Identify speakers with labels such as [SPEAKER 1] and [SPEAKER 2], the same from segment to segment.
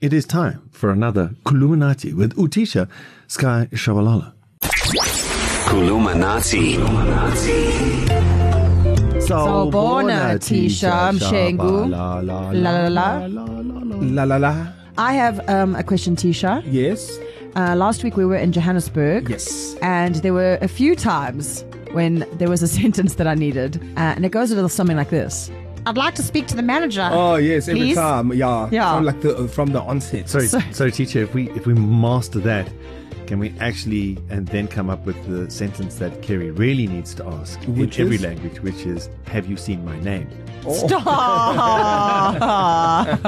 [SPEAKER 1] it is time for another Kuluminati with Utisha Sky Shabalala.
[SPEAKER 2] Kulumanati.
[SPEAKER 3] Sawubona, Tisha Mshengu.
[SPEAKER 1] La la
[SPEAKER 3] La, la, la.
[SPEAKER 1] La la la.
[SPEAKER 3] I have um, a question, Tisha.
[SPEAKER 1] Yes.
[SPEAKER 3] Uh, last week we were in Johannesburg.
[SPEAKER 1] Yes.
[SPEAKER 3] And there were a few times when there was a sentence that I needed. Uh, and it goes a little something like this I'd like to speak to the manager.
[SPEAKER 4] Oh yes, every
[SPEAKER 3] Please?
[SPEAKER 4] time, yeah,
[SPEAKER 3] Yeah.
[SPEAKER 4] From like the uh, from the onset.
[SPEAKER 1] Sorry,
[SPEAKER 3] So-
[SPEAKER 1] sorry, teacher. If we if we master that, can we actually and then come up with the sentence that Kerry really needs to ask
[SPEAKER 4] Which
[SPEAKER 1] in every
[SPEAKER 4] is?
[SPEAKER 1] language, which is, "Have you seen my name?"
[SPEAKER 3] Stop!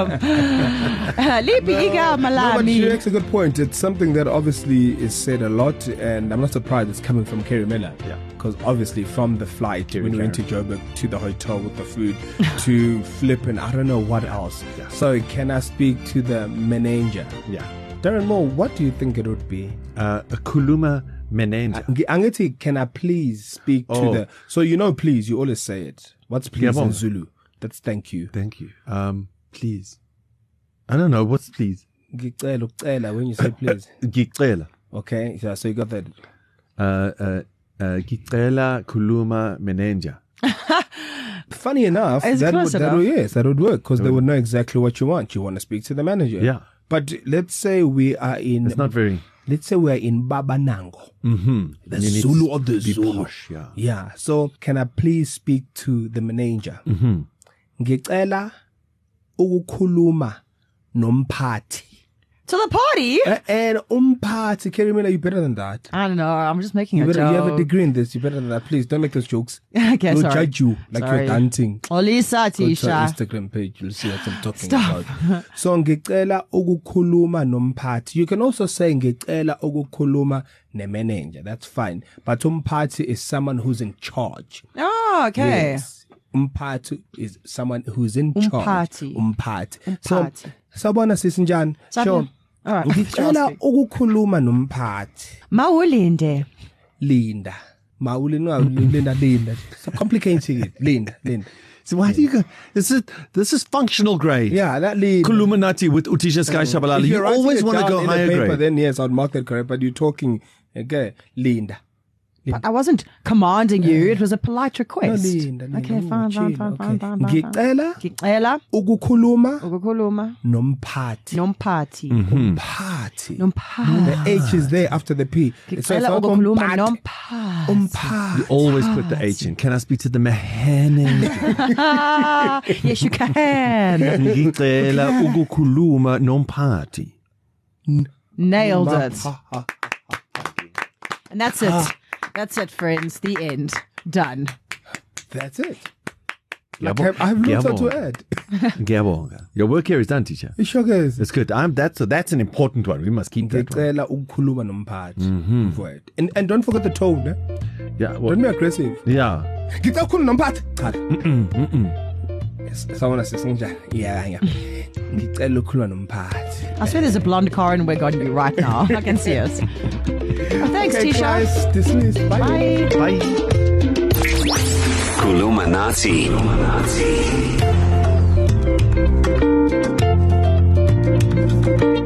[SPEAKER 3] Lipiga
[SPEAKER 4] No, but she
[SPEAKER 3] Uh, malami.
[SPEAKER 4] makes a good point. It's something that obviously is said a lot, and I'm not surprised it's coming from Kerry Miller.
[SPEAKER 1] Yeah.
[SPEAKER 4] Because obviously, from the flight when we went to Joburg to the hotel with the food to flipping, I don't know what else.
[SPEAKER 1] Yeah.
[SPEAKER 4] So, can I speak to the manager?
[SPEAKER 1] Yeah.
[SPEAKER 4] Darren Moore, what do you think it would be?
[SPEAKER 1] Uh, a Kuluma Menenda.
[SPEAKER 4] Ngi- Angithi, can I please speak
[SPEAKER 1] Oh.
[SPEAKER 4] to the? So you know, please, you always say it. What's please in
[SPEAKER 1] Ngiyabonga.
[SPEAKER 4] Zulu? That's thank you.
[SPEAKER 1] Thank you. Um, please. I don't know what's please.
[SPEAKER 4] Ngicela ukucela when you say please.
[SPEAKER 1] Gicela.
[SPEAKER 4] Okay, yeah, so you got that.
[SPEAKER 1] Uh, uh, uh, Gicela Kuluma Menenja.
[SPEAKER 4] Funny enough,
[SPEAKER 3] Is it
[SPEAKER 4] that would,
[SPEAKER 3] close
[SPEAKER 4] that
[SPEAKER 3] enough?
[SPEAKER 4] would, yes, that would work because they would know exactly what you want. You want to speak to the manager.
[SPEAKER 1] Yeah.
[SPEAKER 4] But let's say we are in.
[SPEAKER 1] It's not very.
[SPEAKER 4] let's say we are in Babanango,
[SPEAKER 1] Mm-hmm.
[SPEAKER 4] the Zulu of the
[SPEAKER 1] be
[SPEAKER 4] Zulu.
[SPEAKER 1] posh, yeah.
[SPEAKER 4] Yeah. So can I please speak to the manager?
[SPEAKER 1] Mm-hmm.
[SPEAKER 4] Ngicela ukukhuluma nomphathi.
[SPEAKER 3] To the party?
[SPEAKER 4] Eh, And umphathi, Kerry Miller, you better than that.
[SPEAKER 3] I don't know. I'm just making
[SPEAKER 4] You,
[SPEAKER 3] a
[SPEAKER 4] better,
[SPEAKER 3] joke.
[SPEAKER 4] you have a degree in this. You better than that. Please don't make those jokes.
[SPEAKER 3] okay,
[SPEAKER 4] We'll
[SPEAKER 3] sorry.
[SPEAKER 4] judge you like
[SPEAKER 3] Sorry.
[SPEAKER 4] you're dancing.
[SPEAKER 3] Olisa
[SPEAKER 4] Go to our
[SPEAKER 3] Tisha.
[SPEAKER 4] Instagram page, you'll see what I'm talking
[SPEAKER 3] Stop.
[SPEAKER 4] about. So ngicela ukukhuluma nomphathi. You can also say ngicela ukukhuluma nemanager. That's fine. But umphathi is someone who's in charge.
[SPEAKER 3] Oh, okay.
[SPEAKER 4] Yes. Umphathi is someone who's in
[SPEAKER 3] Umphathi.
[SPEAKER 4] charge. Umphathi. So
[SPEAKER 3] Umphathi.
[SPEAKER 4] sabona sisinjani?
[SPEAKER 3] Sabona.
[SPEAKER 4] Sure.
[SPEAKER 3] All right.
[SPEAKER 4] Ngicela ukukhuluma nomphathi.
[SPEAKER 3] Mawulinde.
[SPEAKER 4] Linda. Mawuli no Linda Linda. So complicating it. Linda, Linda.
[SPEAKER 1] So why do you go? This is this is functional grade.
[SPEAKER 4] Yeah, that Linda.
[SPEAKER 1] Kuluminati with Utisha Sky Shabalala.
[SPEAKER 4] If
[SPEAKER 1] You
[SPEAKER 4] you're writing
[SPEAKER 1] always
[SPEAKER 4] it
[SPEAKER 1] want to
[SPEAKER 4] down
[SPEAKER 1] go
[SPEAKER 4] in the
[SPEAKER 1] higher
[SPEAKER 4] paper,
[SPEAKER 1] grade.
[SPEAKER 4] Then yes, I'd mark that correct. But you're talking, okay, Linda.
[SPEAKER 3] But I wasn't commanding you. It was a polite request.
[SPEAKER 4] Linda, Linda,
[SPEAKER 3] okay,
[SPEAKER 4] no,
[SPEAKER 3] fine, fine,
[SPEAKER 4] chill,
[SPEAKER 3] fine, fine,
[SPEAKER 4] okay.
[SPEAKER 3] fine, fine, fine.
[SPEAKER 4] Ngicela
[SPEAKER 3] Ngicela
[SPEAKER 4] ukukhuluma
[SPEAKER 3] ukukhuluma
[SPEAKER 4] nomphathi.
[SPEAKER 3] nomphathi.
[SPEAKER 4] Mm. Nomphathi.
[SPEAKER 3] Hmm. Nomphathi.
[SPEAKER 4] The H is there after the P. So Mm. it's
[SPEAKER 3] Ngicela
[SPEAKER 4] not
[SPEAKER 3] ukukhuluma
[SPEAKER 4] umphathi,
[SPEAKER 3] nomphathi.
[SPEAKER 1] You
[SPEAKER 4] umphathi.
[SPEAKER 1] always put
[SPEAKER 4] Ah,
[SPEAKER 1] the H in. Can I speak to the mechanic?
[SPEAKER 3] Ah, yes, you can.
[SPEAKER 1] Ngicela ukukhuluma nomphathi.
[SPEAKER 3] Nailed it.
[SPEAKER 4] Ha, ha.
[SPEAKER 3] And that's it. That's it, friends. The end. Done.
[SPEAKER 4] That's it. Like,
[SPEAKER 1] Ngiyabo-
[SPEAKER 4] I I have lots
[SPEAKER 1] ngiyabonga.
[SPEAKER 4] to add.
[SPEAKER 1] Ngiyabonga. Your work here is done, teacher.
[SPEAKER 4] It sure is.
[SPEAKER 1] That's good. I'm that's so that's an important one. We must keep that. One.
[SPEAKER 4] Ngicela ukukhuluma nomphathi.
[SPEAKER 3] Mm-hmm.
[SPEAKER 4] Right. And and don't forget the tone. Eh?
[SPEAKER 1] Yeah.
[SPEAKER 4] Don't
[SPEAKER 1] Well,
[SPEAKER 4] be aggressive.
[SPEAKER 1] yeah.
[SPEAKER 4] Ngicela ukukhuluma nomphathi. Cha. Yes, Someone says sinjani. Yeah, yeah. Ngicela ukukhuluma nomphathi.
[SPEAKER 3] I swear there's a blonde car in Wig on you right now. I can see it. Thanks,
[SPEAKER 4] Okay,
[SPEAKER 3] Tisha.
[SPEAKER 4] guys, dismissed. Bye.
[SPEAKER 3] Bye.
[SPEAKER 1] Bye.
[SPEAKER 2] Kulumanati. Kulumanati.